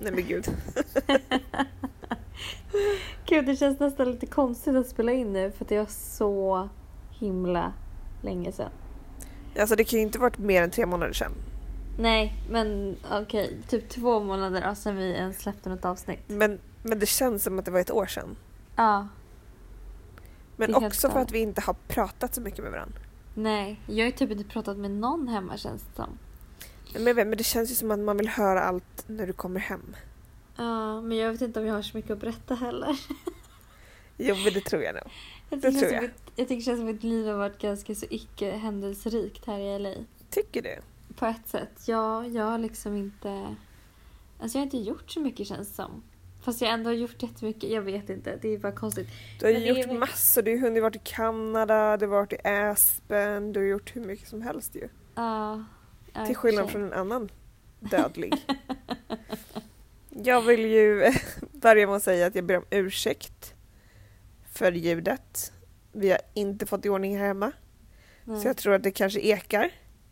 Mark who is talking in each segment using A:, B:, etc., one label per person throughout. A: herregud.
B: Gud, det känns nästan lite konstigt att spela in nu för att det var så himla länge sedan.
A: Alltså det kan ju inte varit mer än tre månader sedan.
B: Nej, men okej. Typ två månader då, sedan vi ens släppte något avsnitt.
A: Men, men det känns som att det var ett år sedan.
B: Ja.
A: Men
B: Det är helt
A: också för
B: galet.
A: att vi inte har pratat så mycket med varandra.
B: Nej, jag har ju typ inte pratat med någon hemma känns det som.
A: Men, jag vet, men det känns ju som att man vill höra allt när du kommer hem.
B: Ja, men jag vet inte om jag har så mycket att berätta heller.
A: Jo men det tror jag nog.
B: Jag
A: Det
B: tycker
A: tror
B: som
A: jag.
B: Ett, jag tycker det känns som mitt liv har varit ganska så icke händelserikt här i LA.
A: Tycker du?
B: På ett sätt. Ja, jag har liksom inte... Alltså jag har inte gjort så mycket känns det som. Fast jag ändå har gjort jättemycket. Jag vet inte, det är bara konstigt.
A: Du har
B: Men
A: ju
B: det är
A: gjort
B: väl-
A: massor. Du har ju hunnit varit i Kanada, du har varit i Aspen, du har gjort hur mycket som helst ju.
B: Ja. ja, i
A: Till
B: och för
A: skillnad
B: sig.
A: från en annan dödlig. jag vill ju börja med att säga att jag ber om ursäkt för ljudet. Vi har inte fått i ordning här hemma,
B: Nej.
A: så jag tror att det kanske ekar.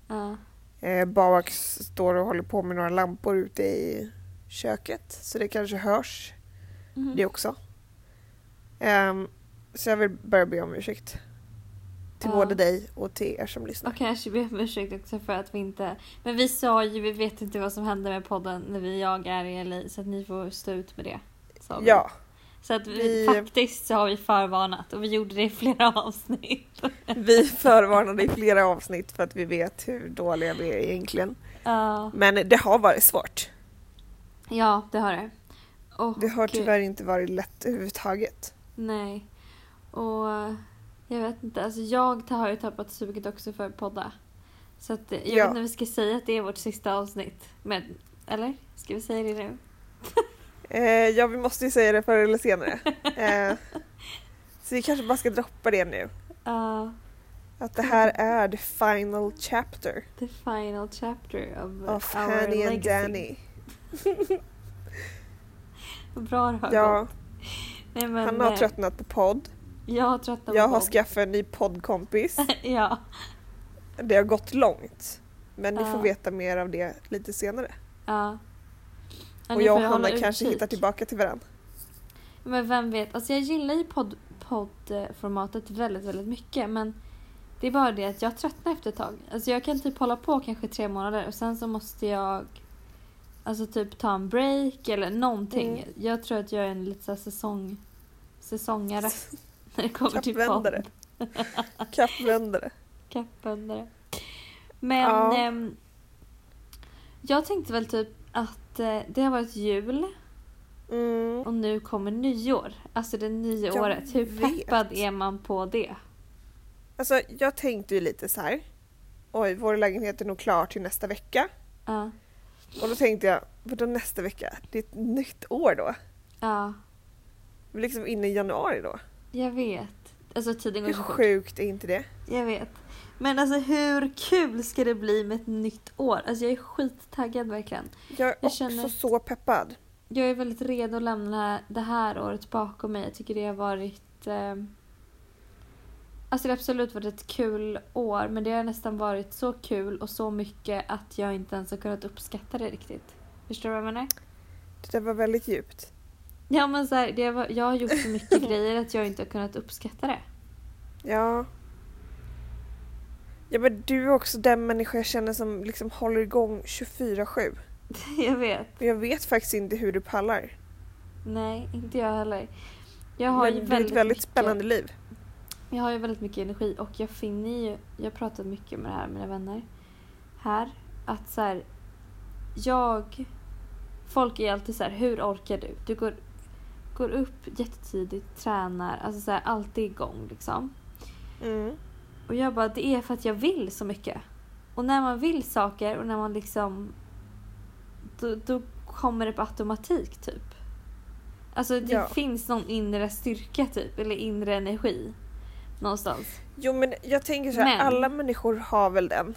B: Ja.
A: Eh, Babak står och håller på med några lampor ute i köket, så det kanske hörs
B: Mhm.
A: det också. Ehm, så jag vill börja be om ursäkt. Till
B: Ja.
A: både dig och till er som lyssnar.
B: Och kanske be om ursäkt också för att vi inte... Men vi sa ju, vi vet inte vad som hände med podden när vi jag är i LA så att ni får stå ut med det. sa vi.
A: Ja,
B: Så att
A: vi-
B: vi, faktiskt så har vi förvarnat och vi gjorde det i flera avsnitt.
A: Vi förvarnade i flera avsnitt för att vi vet hur dåliga vi är egentligen.
B: Ja,
A: Men det har varit svårt.
B: ja det har det. Och,
A: Det har tyvärr inte varit lätt överhuvudtaget.
B: Nej. Och jag vet inte, alltså jag har ju tappat suget också för att podda. Så att jag
A: Ja.
B: vet inte om vi ska säga att det är vårt sista avsnitt. Men, eller? Ska vi säga det nu?
A: Eh, ja, vi måste ju säga det förr eller senare. Eh, så vi kanske bara ska droppa det nu.
B: Ja.
A: Att det här
B: Mm.
A: är the final chapter
B: The final chapter of,
A: of
B: our
A: Hanny and
B: legacy.
A: Danny.
B: Bra det har
A: Ja,
B: gått. Nej, men,
A: han har
B: eh,
A: tröttnat på podd.
B: Jag har tröttnat på
A: Jag har
B: Bob.
A: skaffat en ny poddkompis.
B: Ja,
A: Det har gått långt. Men ni
B: Ja.
A: får veta mer av det lite senare.
B: ja. Ja,
A: Och
B: ni
A: jag och
B: får ju hålla
A: Hanna kanske
B: utkik.
A: hittar tillbaka till varandra.
B: Men vem vet. Alltså jag gillar ju podd, poddformatet väldigt, väldigt mycket. Men det är bara det att jag tröttnar efter ett tag. Alltså jag kan typ hålla på kanske tre månader och sen så måste jag alltså typ ta en break eller någonting.
A: Mm.
B: Jag tror att jag är en lite så här säsong, säsongare när det kommer till podd.
A: Kappvändare. Kappvändare.
B: Kappvändare. Men
A: Ja.
B: ehm, jag tänkte väl typ att eh, det har varit jul
A: Mm.
B: och nu kommer nyår. Alltså det nya
A: Jag
B: året. Hur
A: vet.
B: peppad är man på det?
A: Alltså jag tänkte ju lite så här. Oj, vår lägenhet är nog klar till nästa vecka.
B: Ja.
A: Och då tänkte jag, vadå nästa vecka? Det är ett nytt år då.
B: Ja,
A: Vi är liksom inne i januari då.
B: jag vet. Alltså tiden går
A: Hur
B: så fort.
A: sjukt är inte det?
B: Jag vet. Men alltså hur kul ska det bli med ett nytt år? Alltså jag är skittaggad verkligen.
A: Jag är
B: Jag
A: också
B: känner-
A: så peppad.
B: Jag är väldigt redo att lämna det här året bakom mig. Jag tycker det har varit... Eh, alltså det har absolut varit ett kul år men det har nästan varit så kul och så mycket att jag inte ens har kunnat uppskatta det riktigt. Förstår du vad jag menar?
A: Det där var väldigt djupt.
B: Ja men så här, det var, jag har gjort så mycket grejer att jag inte har kunnat uppskatta det.
A: Ja. Ja men du är också den människa jag känner som liksom håller igång 24-7.
B: Jag vet.
A: Men jag vet faktiskt inte hur du pallar.
B: Nej, inte jag heller. Jag har
A: Men det
B: ju
A: är ett
B: väldigt,
A: väldigt
B: mycket,
A: spännande liv.
B: Jag har ju väldigt mycket energi och jag finner ju, jag har pratat mycket med det här med mina vänner här, att så här, jag, folk är ju alltid så här, hur orkar du? Du går, går upp jättetidigt, tränar, alltså så här, alltid igång liksom.
A: Mm.
B: Och jag bara, det är för att jag vill så mycket. Och när man vill saker och när man liksom... Då, då kommer det på automatik typ. Alltså det
A: Ja.
B: finns någon inre styrka typ, eller inre energi. Någonstans.
A: Jo men jag tänker så här,
B: Men-
A: alla människor har väl den.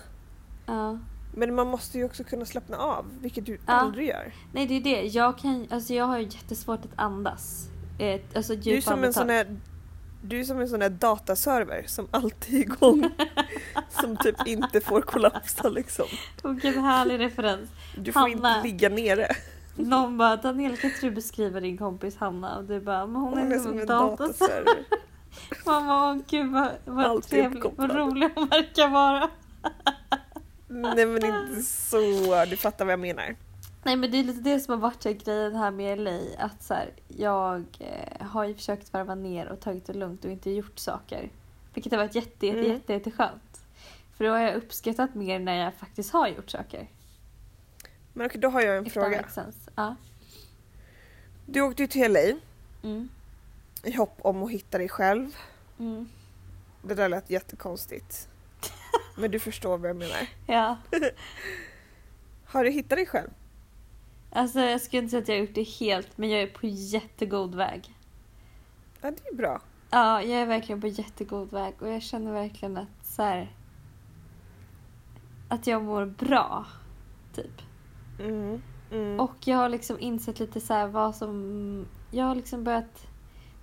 B: Ja.
A: Men man måste ju också kunna slappna av, vilket du
B: Ja.
A: aldrig gör.
B: Nej det är det, jag, kan, alltså, jag har ju jättesvårt att andas. Eh, alltså djupa
A: Du är som en sån här, du är som en sån här dataserver som alltid är igång. som typ inte får kollapsa liksom.
B: Vilken härlig referens.
A: Du får
B: Hanna.
A: inte ligga nere.
B: Någon bara Daniel kan inte du beskriva din kompis Hanna? Och du bara men hon, liksom
A: Hon är som en
B: dator.
A: dataserver.
B: Man bara åh gud vad, vad
A: Alltid
B: trevlig, vad
A: uppkopplad.
B: rolig hon verkar vara.
A: Nej men inte så, du fattar vad jag menar.
B: Nej men det är lite det som har varit här grejen här med LA. Att så här, jag eh, har ju försökt varva ner och tagit det lugnt och inte gjort saker. Vilket har varit jätte, jätte,
A: Mm.
B: jätte, jätte skönt. För då har jag uppskattat mer när jag faktiskt har gjort saker.
A: Men okej, då har jag en
B: If that
A: fråga.
B: makes sense. Ja.
A: Du åkte ju till LA
B: Mm.
A: i hopp om att hitta dig själv.
B: Mm.
A: Det där lät jättekonstigt. Men du förstår vad jag menar.
B: Ja.
A: Har du hittat dig själv?
B: Alltså jag skulle inte säga att jag har gjort det helt men jag är på jättegod väg.
A: Ja, det är bra.
B: Ja, jag är verkligen på jättegod väg och jag känner verkligen att så här, att jag mår bra. Typ.
A: Mm. Mm.
B: Och jag har liksom insett lite så här vad som... Jag har liksom börjat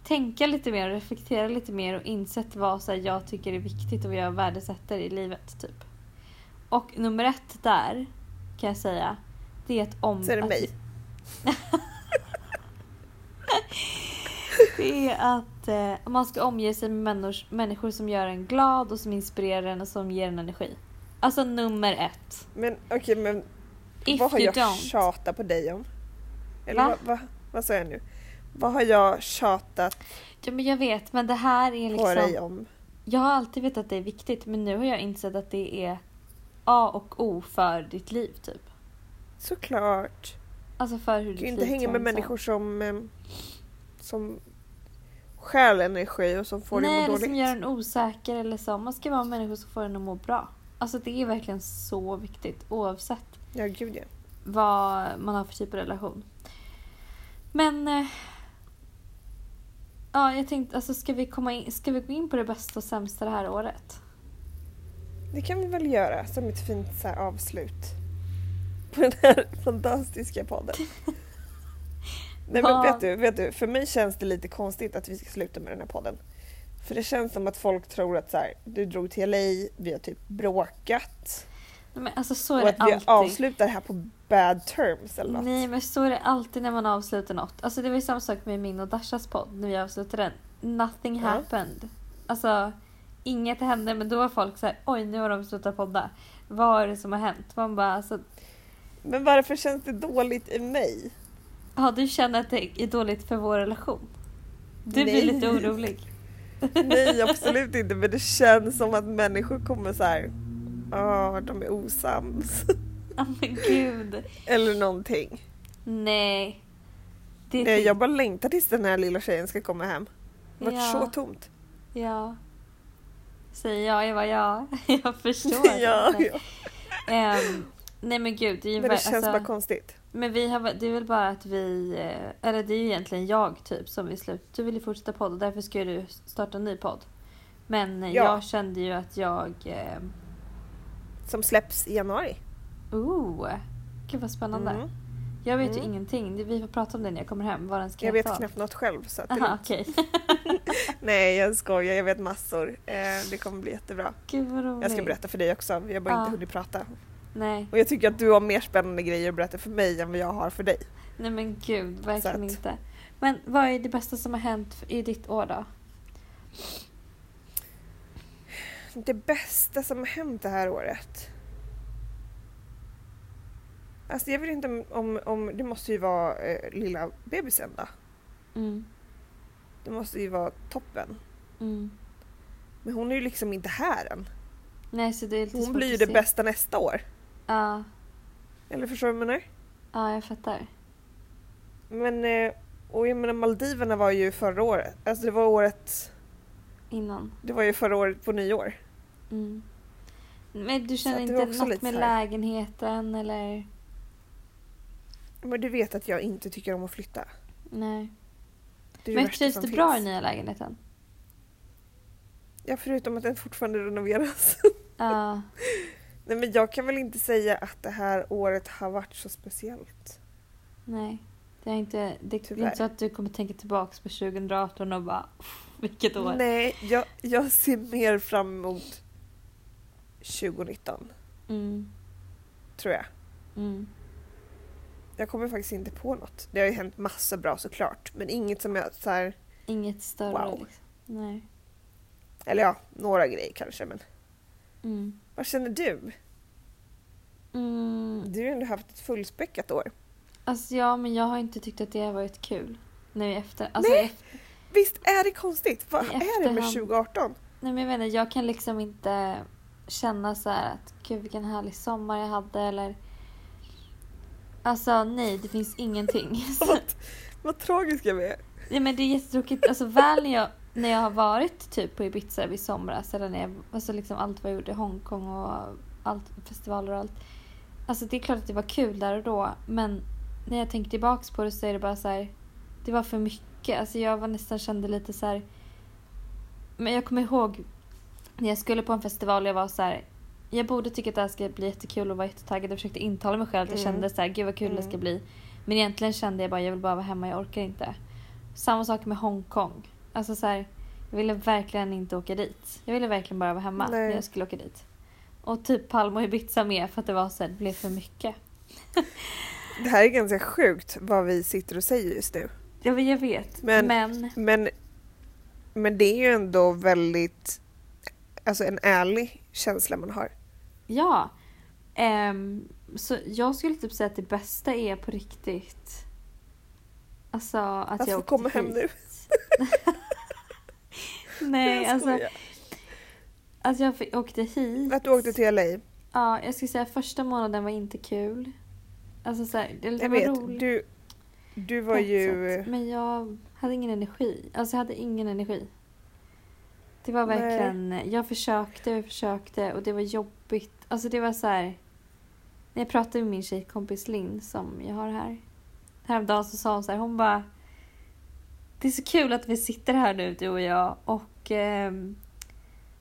B: tänka lite mer och reflektera lite mer och insett vad så här, jag tycker är viktigt och vad jag värdesätter i livet. typ. Och nummer ett där kan jag säga, det är att om...
A: Så är det
B: att-
A: mig.
B: Det är att eh, man ska omge sig med människor, människor som gör en glad och som inspirerar en och som ger en energi. Alltså nummer ett.
A: Men okej, men
B: If
A: vad har
B: you
A: jag
B: don't.
A: tjatat på dig om? Eller
B: Va?
A: vad, vad, vad sa jag nu? Vad har jag tjatat
B: Ja, men jag vet, men det här är
A: på
B: liksom...
A: dig om?
B: Jag har alltid vetat att det är viktigt men nu har jag insett att det är A och O för ditt liv typ.
A: Såklart.
B: Alltså för hur
A: Du
B: ditt
A: kan ju
B: liv
A: inte hänga med
B: transar.
A: människor som, ehm, som stjäl energi och som får dig
B: Nej,
A: att må
B: eller
A: dåligt.
B: som gör en osäker eller så. Man ska vara med människor som får en att må bra. Alltså det är verkligen så viktigt oavsett
A: Ja, gud ja.
B: vad man har för typ av relation. Men... eh, Ja, jag tänkte alltså ska vi, komma in, ska vi gå in på det bästa och sämsta det här året?
A: Det kan vi väl göra som ett fint så här, avslut på den här fantastiska podden. Nej men
B: Ja.
A: vet du, vet du, för mig känns det lite konstigt att vi ska sluta med den här podden. För det känns som att folk tror att så här, du drog till LA, vi har typ bråkat
B: Men alltså så är
A: och
B: det
A: att vi
B: alltid.
A: avslutar här på bad terms eller något.
B: Nej men så är det alltid när man avslutar något. Alltså det var ju samma sak med min och Dashas podd när vi avslutade den. Nothing
A: Ja.
B: happened. Alltså inget hände men då var folk så här, oj nu har de slutat podda. Vad är det som har hänt? Man bara alltså,
A: Men varför känns det dåligt i mig?
B: ja du känner att det är dåligt för vår relation?
A: Nej.
B: Du blir lite orolig.
A: Nej absolut inte men det känns som att människor kommer så här, ah de är osams.
B: Ja men gud.
A: eller någonting.
B: Nej. Det är typ-
A: Nej,
B: fint.
A: jag bara längtar tills den här lilla tjejen ska komma hem. Det har varit
B: ja,
A: så tomt.
B: Ja. Säger jag, jag bara ja. Jag förstår.
A: ja,
B: det.
A: ja.
B: Ehm, nej men gud. Det är ju
A: Men det
B: ver-
A: känns
B: alltså-
A: bara konstigt.
B: Men vi har, det är väl bara att vi, eh, eller det är ju egentligen jag typ som vill sluta. Du vill ju fortsätta podd och därför ska ju du starta en ny podd. Men eh,
A: Ja.
B: jag kände ju att jag, eh,
A: Som släpps i januari.
B: oh, gud vad spännande.
A: Mm.
B: Jag vet ju
A: Mm.
B: ingenting, Det- vi får prata om det när jag kommer hem, vad den ska
A: Jag vet
B: heta.
A: knappt något själv. Så att det är
B: Aha,
A: lugnt.
B: okej.
A: Nej, jag skojar. Jag vet massor. Eh, det kommer bli jättebra.
B: Gud vad roligt.
A: Jag ska berätta för dig också. Vi har bara
B: Ja.
A: inte hunnit prata.
B: Nej,
A: Och jag tycker att du har mer spännande grejer att berätta för mig än vad jag har för dig.
B: nej men gud, verkligen
A: att-
B: inte. Men vad är det bästa som har hänt i ditt år då?
A: Det bästa som har hänt det här året? Alltså jag vet inte om, om, om det måste ju vara eh, lilla bebisen då.
B: Mm,
A: Det måste ju vara toppen.
B: mm.
A: Men hon är ju liksom inte här än.
B: Nej, så det är lite
A: Hon
B: svårt
A: blir ju
B: att
A: det
B: se.
A: bästa nästa år.
B: Ja,
A: Eller förstår du vad jag menar?
B: ja, jag fattar.
A: Men, eh, och jag menar Maldiverna var ju förra året. Alltså det var året,
B: Innan.
A: det var ju förra året på nyår.
B: Mm. Men du
A: Så
B: känner
A: att det var
B: inte
A: också
B: något
A: lite
B: med
A: så här-
B: lägenheten eller?
A: Men du vet att jag inte tycker om att flytta.
B: Nej.
A: Det är
B: Men
A: värsta
B: trivs
A: som
B: du
A: finns.
B: bra i nya lägenheten?
A: Ja, förutom att den fortfarande renoveras.
B: Ja.
A: Nej men jag kan väl inte säga att det här året har varit så speciellt.
B: nej. Det är, inte, det är
A: Tyvärr.
B: inte så att du kommer tänka tillbaka på 2018 och bara "Pff, vilket år.
A: Nej, jag, jag ser mer fram emot 2019,
B: Mm,
A: tror jag.
B: mm.
A: Jag kommer faktiskt inte på något. Det har ju hänt massa bra såklart, men inget som jag så här,
B: Inget större
A: Wow.
B: liksom. Nej.
A: eller ja, några grejer kanske men.
B: Mm.
A: Vad känner du?
B: Mm.
A: Du har ju ändå haft ett fullspäckat år.
B: Alltså ja, men jag har inte tyckt att det har varit kul. Nu i efter. Alltså,
A: Nej!
B: i ef-
A: Visst är det konstigt? Vad
B: I
A: är det med
B: efterhand.
A: 2018?
B: Nej men jag menar, jag kan liksom inte känna så här att gud vilken härlig sommar jag hade eller Alltså nej, det finns ingenting.
A: Vad, vad tragiska vi är.
B: nej men det är jättetråkigt. Alltså väl när jag, när jag har varit typ på Ibiza i somras eller när jag, alltså liksom allt vad jag gjorde i Hongkong och allt, festivaler och allt. Alltså det är klart att det var kul där och då men när jag tänker tillbaks på det så är det bara så här. Det var för mycket. Alltså jag var nästan kände lite så här. Men jag kommer ihåg när jag skulle på en festival och jag var så här. Jag borde tycka att det här ska bli jättekul och vara jättetaggad. Jag försökte intala mig själv att jag
A: Mm.
B: kände så här, gud vad kul det ska
A: Mm.
B: bli. Men egentligen kände jag bara, jag vill bara vara hemma, jag orkar inte. Samma sak med Hongkong. Alltså så här, jag ville verkligen inte åka dit. Jag ville verkligen bara vara hemma
A: Nej.
B: när jag skulle åka dit. Och typ Palma och Ibiza med för att det var så här, det blev för mycket.
A: Det här är ganska sjukt vad vi sitter och säger just nu.
B: Jag, jag vet.
A: Men-
B: men
A: Men, men det är ju ändå väldigt, alltså en ärlig känsla man har.
B: Ja. Ehm, så jag skulle typ säga att det bästa är på riktigt. Alltså att
A: Att
B: jag
A: få
B: åkte
A: komma hem
B: hit.
A: nu.
B: Nej,
A: Jag
B: alltså
A: skojar.
B: att jag fick- åkte hit.
A: Att du åkte till LA.
B: Ja, jag skulle säga första månaden var inte kul. Alltså så här, det, det
A: Jag
B: var
A: vet,
B: roligt
A: du, du var
B: på ett
A: ju...
B: sätt, Men jag hade ingen energi. Alltså jag hade ingen energi. Det var
A: Nej.
B: verkligen, jag försökte och försökte och det var jobbigt. Alltså det var så här. När jag pratade med min tjejkompis Linn som jag har här. Häromdagen så sa hon så här, hon bara. Det är så kul att vi sitter här nu du och jag och ehm,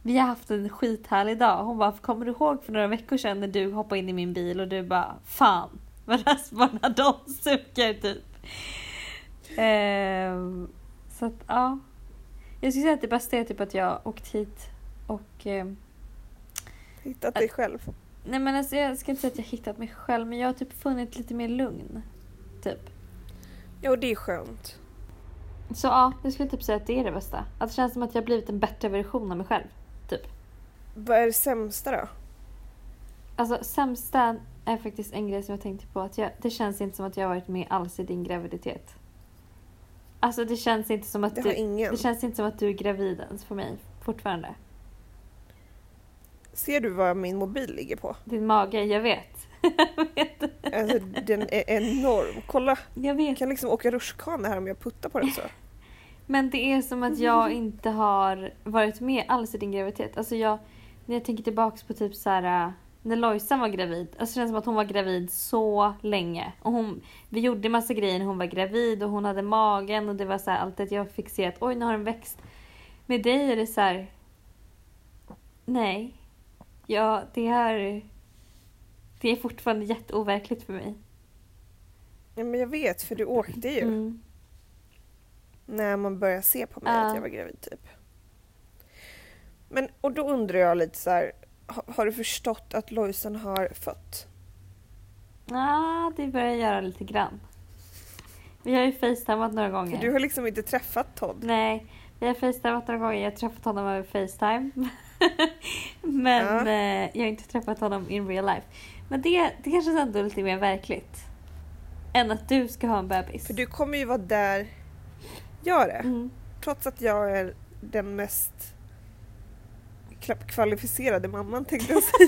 B: vi har haft en skithärlig dag. Hon bara, kommer du ihåg för några veckor sedan när du hoppade in i min bil och du bara, fan vad rassbarna de suger typ. Ehm, så att ja. Jag skulle säga att det bästa är typ att jag har åkt hit och ehm,
A: eh, Hittat dig själv.
B: Nej men alltså jag ska inte säga att jag hittat mig själv men jag har typ funnit lite mer lugn. Typ.
A: Jo, det är skönt.
B: Så ja, jag skulle typ säga att det är det bästa. Att det känns som att jag har blivit en bättre version av mig själv.
A: Vad är det sämsta då?
B: Alltså sämsta är faktiskt en grej som jag tänkte på. Att jag, det känns inte som att jag har varit med alls i din graviditet. Alltså det känns inte som att
A: Det
B: du...
A: har ingen.
B: Det känns inte som att du är gravid ens för mig fortfarande.
A: Ser du vad min mobil ligger på?
B: Din mage, jag vet. jag vet.
A: Alltså, den är enorm. Kolla,
B: Jag
A: jag
B: vet.
A: kan liksom åka rutschkana här om jag puttar på den så.
B: Men det är som att jag inte har varit med alls i din graviditet. Alltså jag, när jag tänker tillbaks på typ så här äh, när Lojsan var gravid. Alltså det känns som att hon var gravid så länge. Och hon, vi gjorde massa grejer när hon var gravid och hon hade magen och det var så här alltid att jag fick se att oj nu har den växt. Med dig är det så här. Nej. Ja, det här. Det är fortfarande jätteoverkligt för mig.
A: Ja, men jag vet, för du åkte ju.
B: Mm.
A: När man börjar se på mig
B: Ja.
A: att jag var gravid typ. Men, och då undrar jag lite så här. ha- Har du förstått att Lojsan har fött?
B: Ja, Ah, det börjar jag göra lite grann. Vi har ju facetimat några gånger.
A: För du har liksom inte träffat Todd.
B: Nej, vi har facetimat några gånger. Jag har träffat honom över facetime. Men
A: Ja.
B: eh, jag har inte träffat honom in real life. Men det, det kanske är ändå lite mer verkligt. Än att du ska ha en bebis.
A: För du kommer ju vara där jag är.
B: Mm.
A: Trots att jag är den mest kla- kvalificerade mamman tänkte jag säga.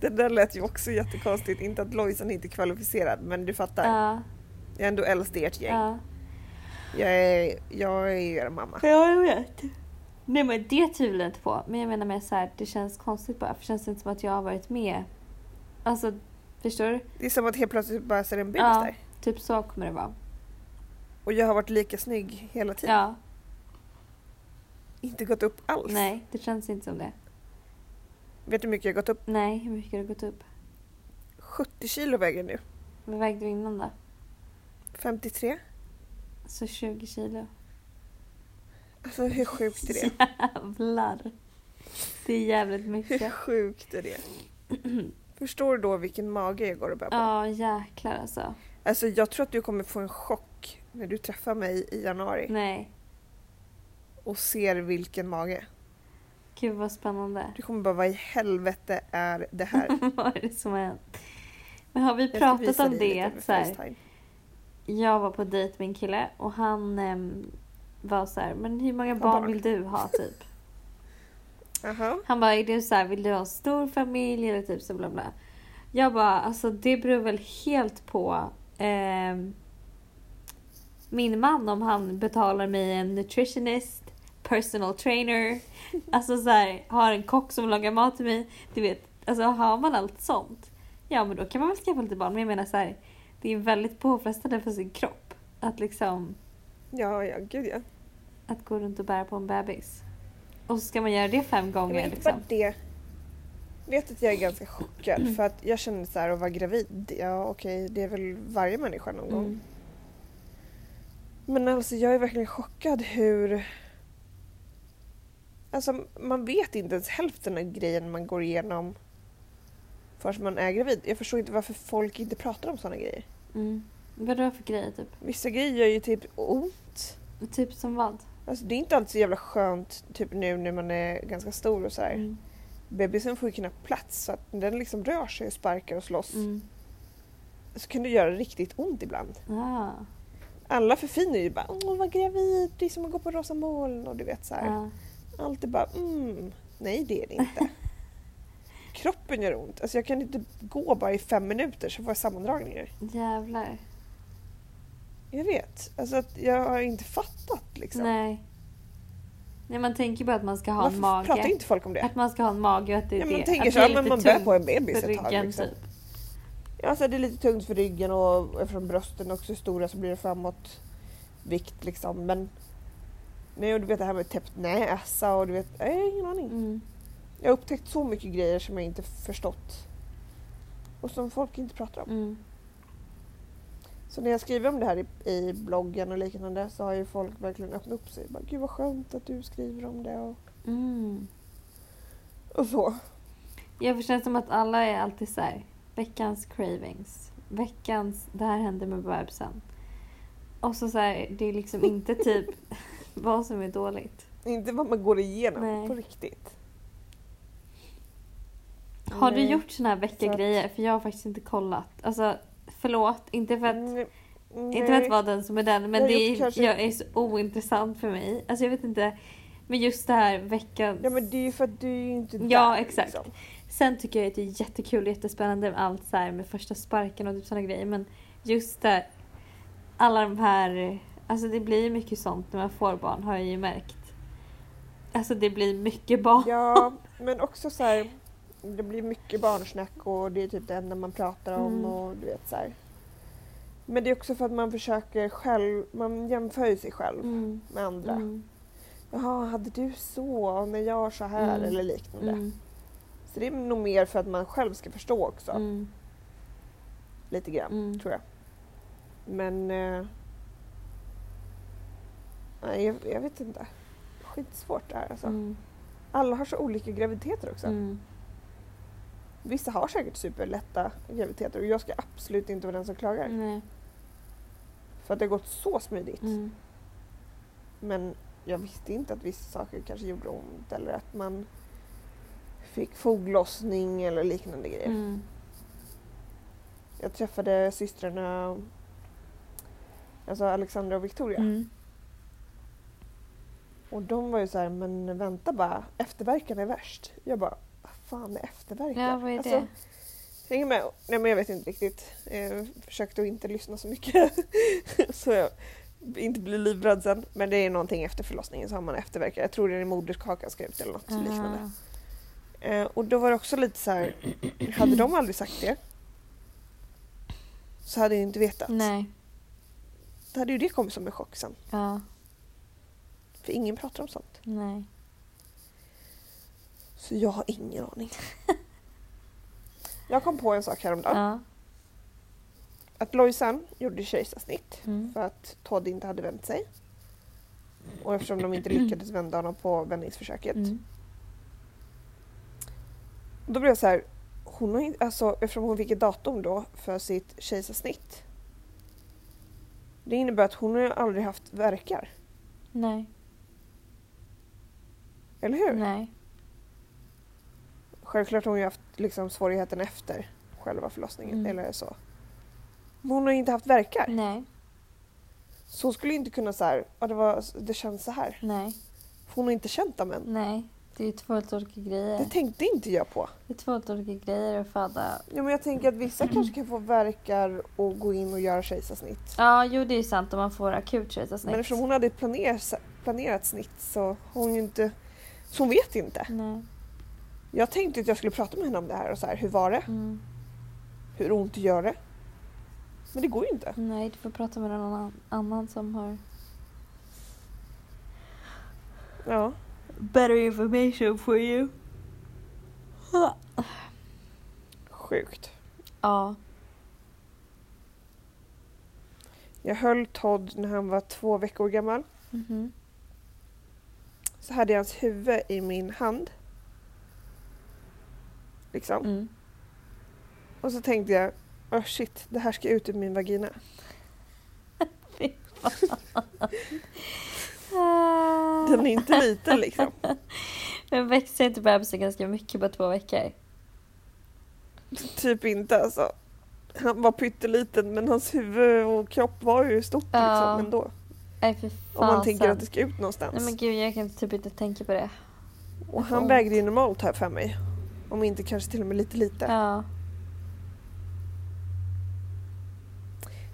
A: Det där lät ju också jättekonstigt. Inte att Lojsan inte är kvalificerad men du fattar.
B: Ja,
A: Jag är ändå äldst i ert gäng.
B: ja.
A: Jag, är, jag är ju er mamma.
B: Ja, jag vet. Nej men det tvivlar jag inte på. Men jag menar med så här, det känns konstigt bara. För det känns inte som att jag har varit med. Alltså, förstår du?
A: Det är som att helt plötsligt bara ser en bebis
B: Ja.
A: där.
B: Typ så kommer det vara.
A: Och jag har varit lika snygg hela tiden.
B: Ja,
A: Inte gått upp alls.
B: nej, det känns inte som det.
A: Vet du hur mycket jag har gått upp?
B: Nej, hur mycket har det gått upp?
A: 70 kilo väger jag nu.
B: Vad vägde du innan då?
A: 53.
B: Så 20 kilo.
A: Alltså hur sjukt är det?
B: Jävlar. Det är jävligt
A: Hur
B: mycket.
A: sjukt är det? Förstår du då vilken mage jag går och bär på?
B: Ja, jäklar alltså.
A: Alltså jag tror att du kommer få en chock när du träffar mig i januari
B: Nej.
A: och ser vilken mage.
B: Gud vad spännande.
A: Du kommer bara, vad i helvete är det här?
B: vad är det som har hänt? Men har vi
A: Jag ska
B: pratat
A: visa
B: om
A: dig
B: det?
A: lite
B: Att
A: med
B: så här,
A: Facetime.
B: jag var på dejt med en kille och han ehm, var så här, men hur många
A: Har
B: barn
A: barn."
B: vill du ha typ?
A: Aha.
B: Han bara, är du så här, vill du ha en stor familj eller typ så bla bla. Jag bara, alltså det beror väl helt på ehm, min man om han betalar mig en nutritionist, personal trainer, alltså så här, har en kock som lagar mat till mig. Du vet, alltså har man allt sånt, ja men då kan man väl skaffa lite barn. Men jag menar så här, det är väldigt påfrestande för sin kropp att liksom
A: Ja, ja, gud ja.
B: att gå runt och bära på en bebis. Och så ska man göra det fem
A: Jag
B: gånger
A: vet
B: liksom. Mm.
A: bara det. Jag vet att jag är ganska chockad för att jag kände så här att vara gravid, ja okej det är väl varje människa någon gång.
B: Mm.
A: Men alltså jag är verkligen chockad hur... Alltså man vet inte ens hälften av grejen man går igenom förrän man är gravid. Jag förstår inte varför folk inte pratar om sådana grejer.
B: Mm. Vadå för grejer typ?
A: Vissa grejer gör ju typ ont.
B: Typ som vad?
A: Alltså det är inte alltid så jävla skönt typ nu när man är ganska stor och så här.
B: Mm.
A: Bebisen får ju knappt plats så att den liksom rör sig och sparkar och slåss.
B: Mm.
A: Så kan det göra riktigt ont ibland.
B: Ah.
A: Alla förfinar ju bara åh vad gravid, det är som att gå på rosa moln och du vet så här.
B: Ah.
A: Allt är bara mm, nej det är det inte. Kroppen gör ont. Alltså jag kan inte gå bara i fem minuter så får jag sammandragningar.
B: Jävlar.
A: Jag vet. Alltså att jag har inte fattat liksom.
B: Nej. Nej man tänker bara att man ska ha
A: Varför
B: en mage.
A: pratar inte folk om det?
B: Att man ska ha en mage och att det är
A: Ja,
B: det.
A: man tänker
B: att
A: så,
B: det är
A: ja, men
B: lite
A: man bär
B: tungt
A: på en bebis
B: för
A: ett tag.
B: ryggen,
A: Liksom.
B: typ.
A: Ja, alltså, det är lite tungt för ryggen och eftersom brösten också är stora så blir det framåt vikt liksom. Men nej, och du vet det här med täppt näsa och du vet, jag har ingen aning.
B: Mm.
A: Jag har upptäckt så mycket grejer som jag inte förstått. Och som folk inte pratar om.
B: Mm.
A: Så när jag skriver om det här i, i bloggen och liknande så har ju folk verkligen öppnat upp sig. Bara, Gud vad skönt att du skriver om det och,
B: Mm.
A: och så.
B: Jag förstår som att alla är alltid så här. Veckans cravings. Veckans det här hände med bebisen. Och så, så här, det är liksom inte typ vad som är dåligt.
A: Inte vad man går igenom
B: Nej.
A: på riktigt.
B: Har du
A: Nej.
B: gjort såna här veckagrejer? För jag har faktiskt inte kollat. Alltså förlåt, inte för att
A: Nej,
B: Inte för
A: Mm, nej.
B: att vara den som är den, men
A: Jag har
B: det är,
A: gjort kanske-
B: jag är så ointressant för mig. Alltså jag vet inte. Men just det här veckan.
A: Ja men det är ju för att du är ju inte
B: Ja,
A: där, liksom.
B: exakt. Sen tycker jag att det är jättekul och jättespännande med allt så här med första sparken och typ sådana grejer. Men just det, alla de här, alltså det blir ju mycket sånt när man får barn har jag ju märkt. Alltså det blir mycket barn.
A: Ja, men också så här. Det blir mycket barnsnack och det är typ det enda man pratar om
B: Mm.
A: och du vet så här. Men det är också för att man försöker själv, man jämför ju sig själv
B: Mm,
A: med andra.
B: mm,
A: Jaha, hade du så? Och när jag gör så här
B: Mm.
A: eller liknande.
B: mm,
A: Så det är nog mer för att man själv ska förstå också,
B: mm,
A: lite grann,
B: mm.
A: tror jag. Men... Eh, nej, jag, jag vet inte. Skitsvårt det här alltså.
B: Mm,
A: Alla har så olika graviditeter också.
B: mm.
A: Vissa har säkert superlätta graviditeter och jag ska absolut inte vara den som klagar.
B: Nej,
A: För att det har gått så smidigt.
B: mm.
A: Men jag visste inte att vissa saker kanske gjorde ont eller att man fick foglossning eller liknande grejer.
B: Mm.
A: Jag träffade systrarna Alltså Alexandra och Victoria.
B: Mm.
A: Och de var ju så här, men vänta bara, efterverkarna är värst. Jag bara, vad fan är efterverkar?
B: Ja, vad är
A: Alltså,
B: det?
A: Jag hänger med. Nej men jag vet inte riktigt. Jag försökte att inte lyssna så mycket. så jag inte blir livrädd sen. Men det är någonting efter förlossningen så har man efterverkar. Jag tror det är moderkakan ska ut eller något liknande.
B: Ah.
A: Eh, och då var det också lite så här, hade de aldrig sagt det så hade jag ju inte vetat.
B: Nej,
A: Då hade ju det kommit som en chock sen.
B: ja,
A: För ingen pratar om sånt.
B: nej.
A: Så jag har ingen aning. jag kom på en sak häromdagen.
B: Ja.
A: Att Lojsan gjorde kejsarsnitt
B: Mm.
A: för att Todd inte hade vänt sig. Och eftersom de inte lyckades vända honom på vändningsförsöket.
B: Mm.
A: Då blev jag så här, hon har inte, alltså, eftersom hon fick ett datum då för sitt kejsarsnitt Det innebär att hon har ju aldrig haft verkar.
B: Nej.
A: Eller hur?
B: Nej.
A: Självklart har hon ju haft liksom, svårigheten efter själva förlossningen.
B: Mm.
A: Eller så. Men hon har ju inte haft verkar.
B: Nej.
A: Så hon skulle ju inte kunna säga ja det, var, det känns så här.
B: Nej.
A: För hon har inte känt dem än.
B: Nej. Det är ju två helt olika grejer.
A: Det tänkte inte jag på.
B: Det är två helt olika grejer att föda.
A: Ja, men jag tänker att vissa kanske kan få verkar och gå in och göra kejsarsnitt.
B: Ja, jo det är ju sant om man får akut
A: Men
B: kejsarsnitt.
A: eftersom hon hade ett planer, planerat snitt så har hon ju inte... Så hon vet inte.
B: Nej.
A: Jag tänkte att jag skulle prata med henne om det här och så här, hur var det?
B: Mm.
A: Hur ont gör det? Men det går ju inte.
B: Nej, du får prata med någon annan- annan som har
A: Ja.
B: better information for you.
A: Sjukt.
B: Ja.
A: Jag höll Todd när han var två veckor gammal.
B: Mhm.
A: Så hade jag hans huvud i min hand. Liksom.
B: Mm.
A: Och så tänkte jag, oh shit, det här ska ut ur min vagina. Den är inte liten liksom.
B: Men växer inte bebisen ganska mycket på två veckor?
A: Typ inte alltså. Han var pytteliten men hans huvud och kropp var ju stort
B: Ja.
A: liksom ändå. Om
B: Nej fy
A: man
B: fasen.
A: tänker att det ska ut någonstans.
B: Nej men gud jag kan typ inte tänka på det.
A: och han
B: Ont.
A: vägde ju normalt här för mig. Om inte kanske till och med lite lite.
B: Ja.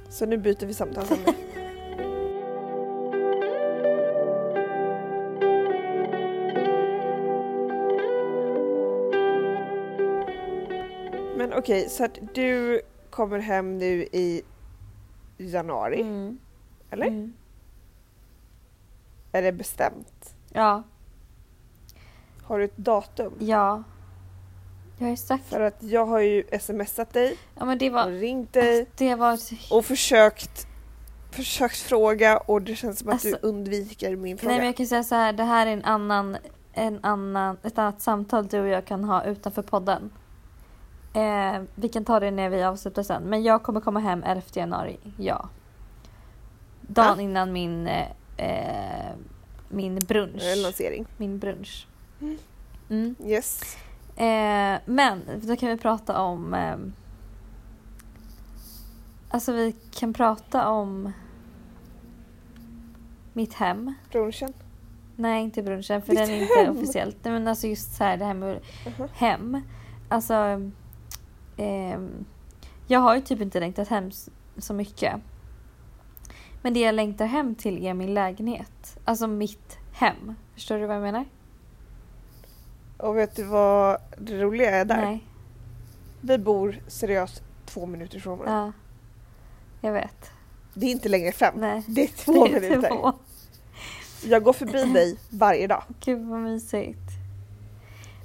A: Så nu byter vi samtalsämne. Men okej, så att du kommer hem nu i januari,
B: Mm.
A: eller?
B: Mm.
A: Är det bestämt?
B: Ja.
A: Har du ett datum?
B: Ja. Jag har ju sagt.
A: För att jag har ju smsat dig
B: Ja men det
A: och
B: var. Alltså,
A: ringt dig
B: Det var så
A: och försökt, försökt fråga och det känns som att du
B: Alltså-
A: undviker min fråga.
B: Nej men jag kan säga så här, det här är en annan, en annan, ett annat samtal du och jag kan ha utanför podden. Eh, vi kan ta det när vi avslutar sen. Men jag kommer komma hem 11 januari, ja. Dagen
A: Ja.
B: innan min, eh, eh, min brunch.
A: Eh, Lansering.
B: Min brunch. Mm.
A: Yes.
B: Eh, men då kan vi prata om... Eh, alltså vi kan prata om mitt hem.
A: Brunchen.
B: Nej, inte brunchen för
A: Ditt
B: den är inte
A: hem? Uh-huh.
B: officiellt. Nej, men alltså just så här det här med
A: Aha.
B: hem. Alltså, ehm, jag har ju typ inte längtat hem s- så mycket. Men det jag längtar hem till är min lägenhet. Alltså mitt hem. Förstår du vad jag menar?
A: Och vet du vad det roliga är där?
B: Nej.
A: Vi bor seriöst två minuter från varandra.
B: Ja. Jag vet.
A: Det är inte längre fem.
B: Nej.
A: Det är två
B: Det är
A: minuter.
B: två.
A: Jag går förbi dig varje dag.
B: Gud vad mysigt.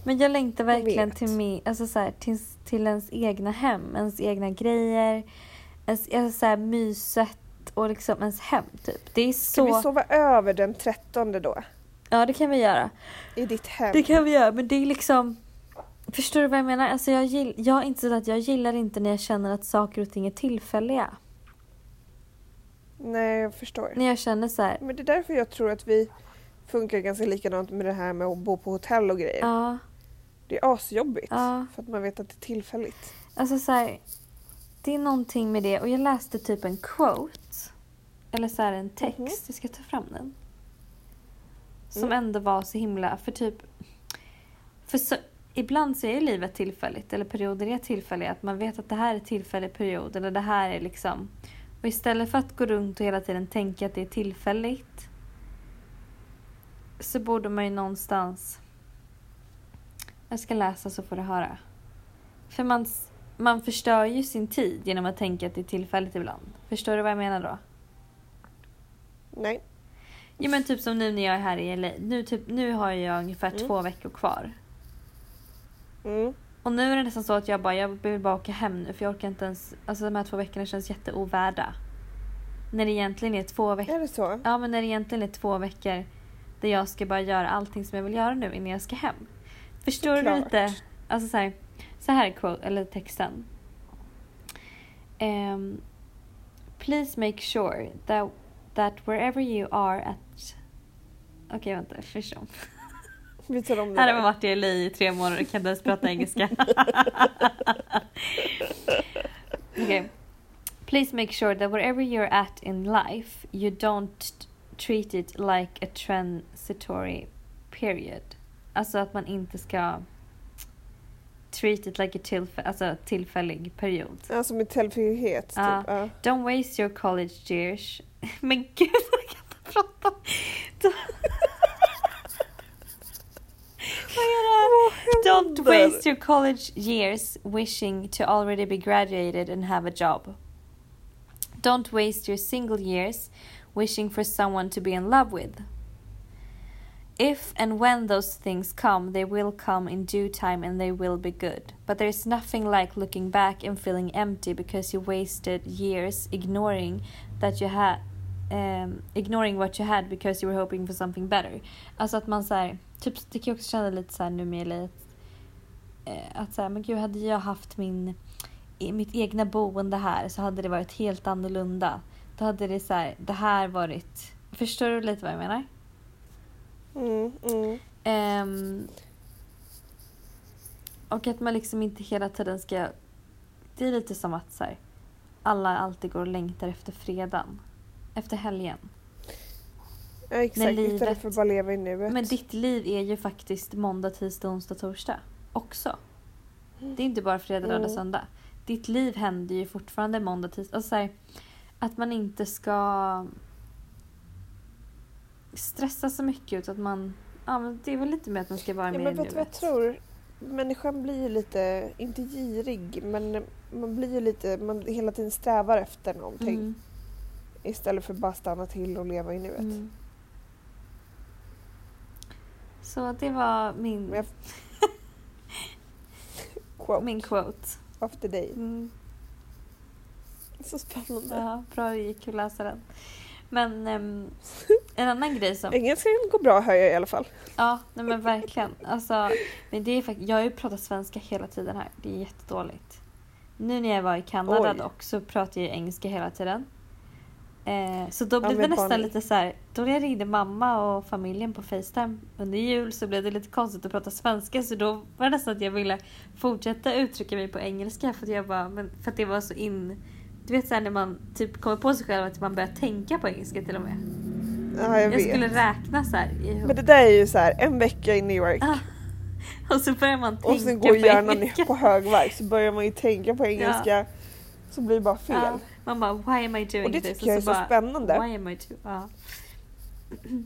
B: Men jag längtar
A: Jag
B: verkligen
A: vet.
B: till, min, alltså så här, till, till ens egna hem, ens egna grejer, ens, alltså så här, myset och liksom ens hem typ. Det är
A: Ska vi
B: så...
A: sova över den 13 då?
B: Ja det kan vi göra.
A: I ditt hem?
B: Det kan vi göra men det är liksom... Förstår du vad jag menar? Alltså jag, gill, jag har insett att jag gillar inte när jag känner att saker och ting är tillfälliga.
A: Nej, jag förstår.
B: När jag känner så här,
A: Men det är därför jag tror att vi funkar ganska likadant med det här med att bo på hotell och grejer.
B: ja,
A: Det är asjobbigt.
B: ja.
A: För att man vet att det är tillfälligt.
B: Alltså så här, det är någonting med det och jag läste typ en quote. Eller så här en text,
A: Mhm.
B: jag ska ta fram den. Som
A: Mm.
B: ändå var så himla, för typ... För så, ibland så är livet tillfälligt, eller perioder är tillfälliga. Att man vet att det här är tillfällig period, eller det här är liksom... Och istället för att gå runt och hela tiden tänka att det är tillfälligt. Så borde man ju någonstans... Jag ska läsa så får du höra. För man, s- man förstör ju sin tid genom att tänka att det är tillfälligt ibland. Förstår du vad jag menar då?
A: Nej.
B: Jo men typ som nu när jag är här i LA. Nu, typ, nu har jag ungefär
A: Mm.
B: två veckor kvar.
A: Mm.
B: Och nu är det nästan så att jag bara, jag vill bara åka hem nu för jag orkar inte ens. Alltså de här två veckorna känns jätteovärda. När det egentligen är två veckor.
A: Är det så?
B: Ja men när det egentligen är två veckor där jag ska bara göra allting som jag vill göra nu innan jag ska hem. Förstår du
A: Såklart.
B: lite? Alltså så här, så här är quote, eller texten. Ehm, Please make sure that, that wherever you are at... Okej, vänta. Fish on.
A: Vi tar om det
B: Här har
A: där.
B: man varit i LA i tre månader och kan inte ens prata engelska. okay. Please make sure that wherever you're at in life you don't t- treat it like a transitory period. Alltså att man inte ska treat it like a tillf- alltså tillfällig period.
A: Ja, som en tillfällighet. Typ.
B: Ja.
A: Ja.
B: Don't waste your college years. Men gud, jag kan inte prata. Vad är det
A: Oh,
B: här? Don't
A: händer?
B: waste your college years wishing to already be graduated and have a job. Don't waste your single years wishing for someone to be in love with. If and when those things come, they will come in due time and they will be good. But there's nothing like looking back and feeling empty because you wasted years ignoring that you had um, ignoring what you had because you were hoping for something better. Alltså att man så här, typ det kan jag också känna lite så här nu med lite eh, att så här, men gud hade jag haft min i mitt egna boende här så hade det varit helt annorlunda. Då hade det så här, det här varit, förstår du lite vad jag menar?
A: Mm, mm.
B: Ehm, och att man liksom inte hela tiden ska... Det är lite som att så här, alla alltid går och längtar efter fredagen. Efter helgen.
A: Ja, exakt,
B: livet-
A: istället för att bara leva i nuet.
B: Men ditt liv är ju faktiskt måndag, tisdag, onsdag, torsdag också. Det är inte bara fredag, lördag,
A: Mm.
B: söndag. Ditt liv händer ju fortfarande måndag, tisdag. Alltså så här, att man inte ska stressa så mycket ut att man... Ja, men det är väl lite mer att man ska vara
A: ja,
B: mer i
A: men vet du vad jag
B: nuet.
A: tror? Människan blir ju lite, inte girig, men man blir ju lite, man hela tiden strävar efter någonting
B: Mm.
A: istället för att bara stanna till och leva i nuet.
B: Mm. Så det var
A: Men jag
B: min,
A: Quote
B: min quote.
A: of the day.
B: Mm.
A: Så spännande.
B: Ja, bra det gick att läsa den. Men ehm, en annan grej som...
A: Engelskan går bra hör jag i alla fall.
B: Ja, nej men verkligen. Alltså, men det är fakt- jag har ju pratat svenska hela tiden här. Det är jättedåligt. Nu när jag var i Kanada
A: Oj.
B: dock så pratade jag ju engelska hela tiden. Eh, så då
A: Ja,
B: blev det
A: men
B: nästan
A: barn-
B: lite så här. Då när jag ringde mamma och familjen på Facetime under jul så blev det lite konstigt att prata svenska så då var det nästan att jag ville fortsätta uttrycka mig på engelska för att jag bara, men för att det var så in... Du vet såhär när man typ kommer på sig själv att man börjar tänka på engelska till och med.
A: Ja, jag,
B: Jag,
A: vet.
B: skulle räkna så här i
A: Men det där är ju så här, en vecka i New York
B: Ah, och så börjar man tänka
A: och sen går
B: på
A: hjärnan
B: engelska.
A: ner på högvarv så börjar man ju tänka på engelska så blir det bara fel.
B: Ja, man bara why am I doing
A: Och det
B: this?
A: tycker jag är så
B: bara,
A: spännande.
B: Why am I doing ja.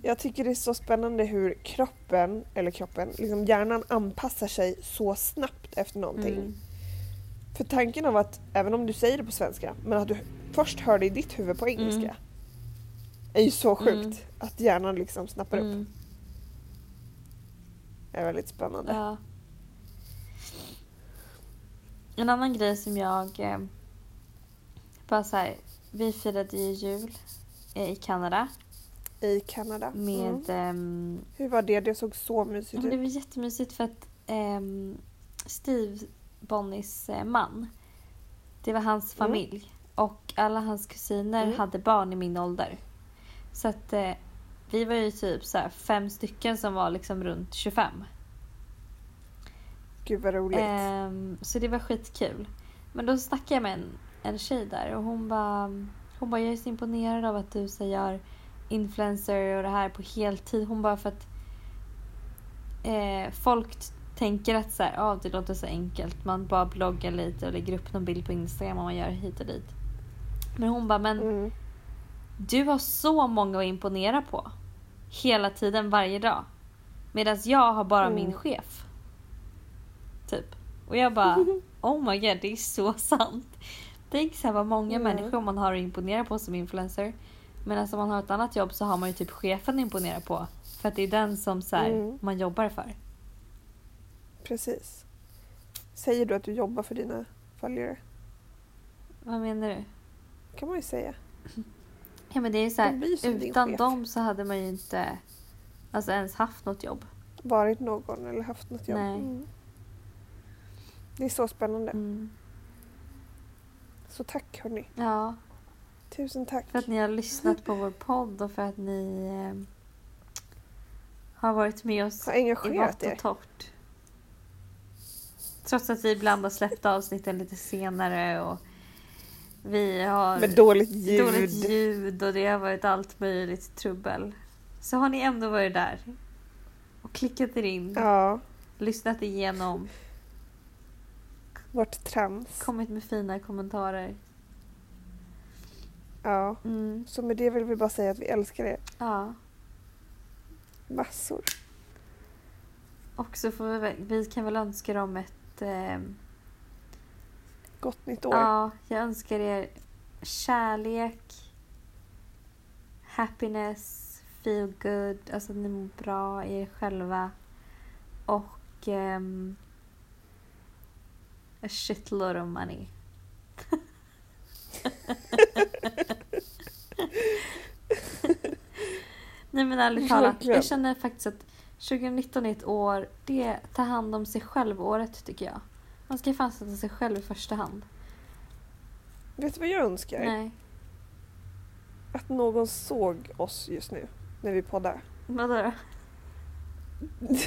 A: Jag tycker det är så spännande hur kroppen, eller kroppen, liksom hjärnan anpassar sig så snabbt efter någonting.
B: mm.
A: För tanken av att, även om du säger det på svenska, men att du först hör det i ditt huvud på engelska.
B: Mm.
A: Är ju så sjukt.
B: Mm.
A: Att hjärnan liksom snappar upp.
B: Mm.
A: Det är väldigt spännande.
B: Ja. En annan grej som jag... Eh, bara så här, vi firade ju jul eh, i Kanada
A: I Kanada. Mm.
B: med... ehm,
A: Hur var det? Det såg så
B: Ja,
A: mysigt
B: men det
A: ut.
B: var jättemysigt för att ehm, Steve, Bonnies eh, man, det var hans
A: Mm.
B: familj. Och alla hans kusiner
A: Mm.
B: hade barn i min ålder. Så att eh, vi var ju typ så här fem stycken som var liksom runt 25.
A: Gud vad roligt.
B: Ehm, så det var skitkul. Men då snackade jag med en, en tjej där och hon bara, hon bara, jag är så imponerad av att du så här gör influencer och det här på heltid. Hon bara för att eh, folk t- tänker att så här, ah, det låter så enkelt. Man bara bloggar lite och lägger upp någon bild på Instagram och man gör hit och dit. Men hon bara, men
A: Mm.
B: du har så många att imponera på. Hela tiden, varje dag. Medan jag har bara min
A: Mm.
B: chef. Typ. Och jag bara, oh my god, det är så sant. Tänk så här vad många
A: Mm.
B: människor man har att imponera på som influencer. Men alltså om man har ett annat jobb så har man ju typ chefen att imponera på. För att det är den som så här,
A: Mm.
B: man jobbar för.
A: Precis. Säger du att du jobbar för dina följare?
B: Vad menar du?
A: kan man ju säga.
B: Ja men det är ju så här,
A: De blir som din
B: utan
A: chef.
B: dem så hade man ju inte alltså, ens haft något jobb.
A: Varit någon eller haft något jobb.
B: Nej.
A: Mm. Det är så spännande.
B: Mm.
A: Så tack hörni.
B: Ja.
A: Tusen tack.
B: För att ni har lyssnat på vår podd och för att ni eh, har varit med oss
A: Har
B: i
A: engagerat
B: vått
A: er.
B: och torrt. Trots att vi ibland har släppt avsnitten lite senare och vi har
A: Med dåligt ljud.
B: dåligt ljud och det har varit allt möjligt trubbel. Så har ni ändå varit där och klickat er in,
A: Ja,
B: lyssnat igenom,
A: vårt trams.
B: kommit med fina kommentarer.
A: Ja.
B: Mm,
A: Så med det vill vi bara säga att vi älskar er
B: ja.
A: massor.
B: Och så får vi, väl- vi kan väl önska dem ett... ehm,
A: Gott nytt år.
B: ja, jag önskar er kärlek, happiness, feel good, alltså att ni mår bra i er själva. Och... Um, a shitload of money. Nej men ärligt talat,
A: Verkligen.
B: jag känner faktiskt att 2019 är ett år, det är ta hand om sig själv-året tycker jag. Man ska fan sätta sig själv i första hand.
A: Vet du vad jag önskar?
B: Nej.
A: Att någon såg oss just nu när vi poddar.
B: Vadå då?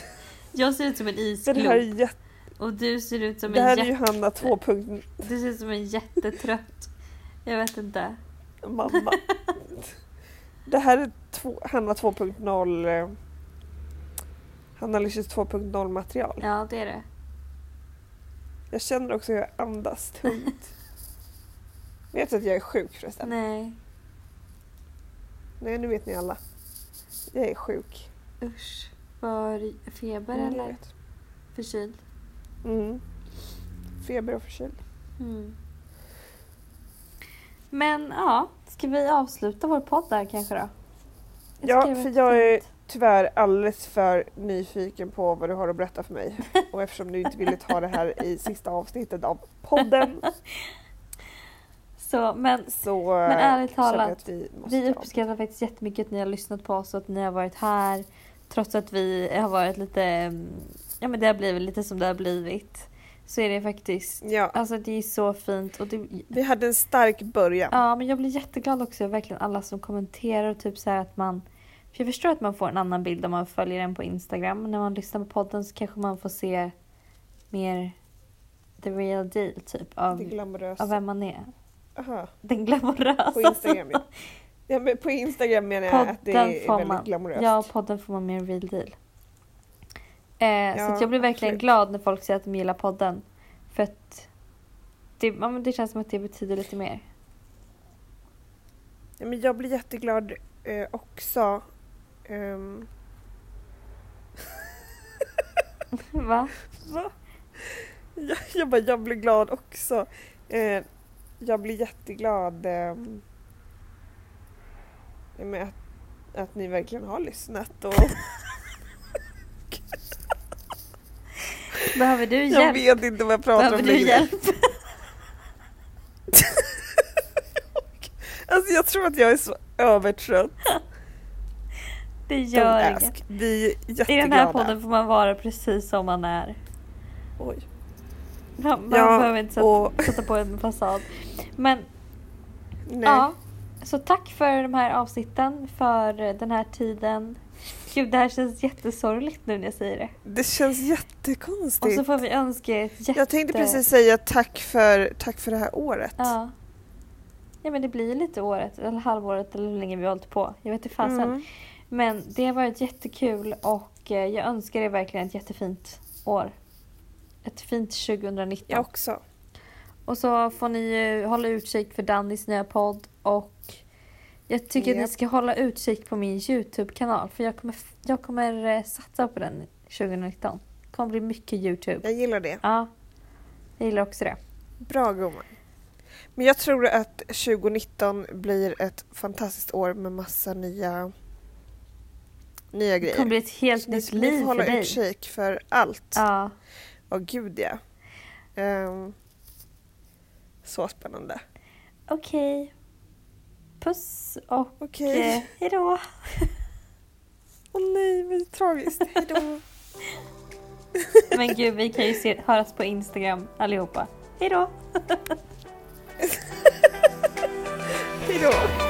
B: Jag ser ut som en
A: Den här,
B: isklump
A: är jätte-
B: och du ser ut som
A: det här
B: en
A: är
B: jätte...
A: Johanna 2.0
B: Du ser ut som en jättetrött... Jag vet inte.
A: mamma. det här är två, Hanna 2.0 eh, Hanna Lyschers 2.0 material.
B: Ja, det är det.
A: Jag känner också hur jag andas tungt. vet att jag är sjuk förresten?
B: Nej,
A: Nej, nu vet ni alla. Jag är sjuk.
B: usch. Var feber
A: Mm, jag
B: eller
A: vet.
B: förkyld?
A: Mm. Feber och förkyld.
B: Mm. Men ja, ska vi avsluta vår podd där kanske då? Jag
A: Ja,
B: tycker det
A: för
B: var
A: jag är
B: fint.
A: tyvärr alldeles för nyfiken på vad du har att berätta för mig. Och eftersom du inte ville ta det här i sista avsnittet av podden
B: Så, men
A: så eh,
B: Men ärligt
A: känner jag
B: talat,
A: att vi måste
B: vi
A: dra.
B: uppskattar faktiskt jättemycket att ni har lyssnat på oss och att ni har varit här. Trots att vi har varit lite, mm, ja men det har blivit lite som det har blivit. Så är det faktiskt,
A: Ja,
B: alltså det är så fint och det,
A: vi hade en stark början.
B: Ja, men jag blir jätteglad också verkligen alla som kommenterar och typ så här att man för jag förstår att man får en annan bild om man följer den på Instagram. Men när man lyssnar på podden så kanske man får se mer the real deal typ
A: Det
B: av,
A: glamorösa.
B: av vem man är.
A: Aha,
B: Den glamorösa.
A: på Instagram ja. ja men på Instagram menar jag att det
B: Podden
A: är
B: får
A: väldigt
B: man.
A: glamoröst.
B: Ja, podden får man mer real deal. Eh, så
A: Ja,
B: att jag blir verkligen
A: absolut.
B: glad när folk säger att de gillar podden. För att det, ja, men det känns som att det betyder lite mer.
A: Ja, men jag blir jätteglad eh, också. Ehm,
B: Va?
A: Va? Jag, jag bara, jag blir glad också. Eh, jag blir jätteglad eh, med att, att ni verkligen har lyssnat. Och
B: Behöver du hjälp?
A: jag vet inte vad jag pratar
B: Behöver
A: om
B: du
A: längre.
B: hjälp?
A: Alltså jag tror att jag är så övertrött.
B: Det
A: Don't
B: gör inget.
A: ask. Vi är
B: I
A: jätteglada.
B: den här podden får man vara precis som man är.
A: Oj.
B: Man, man
A: Ja,
B: behöver inte sätta,
A: och-
B: sätta på en fasad. Men
A: Nej.
B: ja, så tack för de här avsnitten, för den här tiden. Gud, det här känns jättesorgligt nu när jag säger det.
A: Det känns
B: Och
A: jättekonstigt.
B: så får vi önska er ett jätte...
A: Jag tänkte precis säga tack för, tack för det här året.
B: Ja. ja, men det blir lite året, eller halvåret eller hur länge vi har hållit på. Jag vet inte fasen.
A: Mm.
B: Men det har varit jättekul och eh, jag önskar er verkligen ett jättefint år. Ett fint 2019.
A: Jag också.
B: Och så får ni ju hålla utkik för Dannys nya podd och jag tycker att ni
A: Japp.
B: ska hålla utkik på min Youtube-kanal för jag kommer, jag kommer eh, satsa på den 2019. Det kommer bli mycket Youtube.
A: Jag gillar det.
B: Ja, jag gillar också det.
A: Bra gumman. Men jag tror att 2019 blir ett fantastiskt år med massa nya, nya
B: Det kommer
A: grejer.
B: bli ett helt
A: Ni,
B: nytt
A: ni
B: liv
A: får
B: för
A: hålla
B: dig.
A: utkik för allt. Ja,
B: Ja,
A: gud ja. Ehm, så spännande.
B: okej. Puss och
A: Okej.
B: eh, hejdå.
A: Åh nej, vad tragiskt. Hejdå.
B: Men gud, vi kan ju se, höras på Instagram allihopa. Hejdå.
A: Hej Hej då!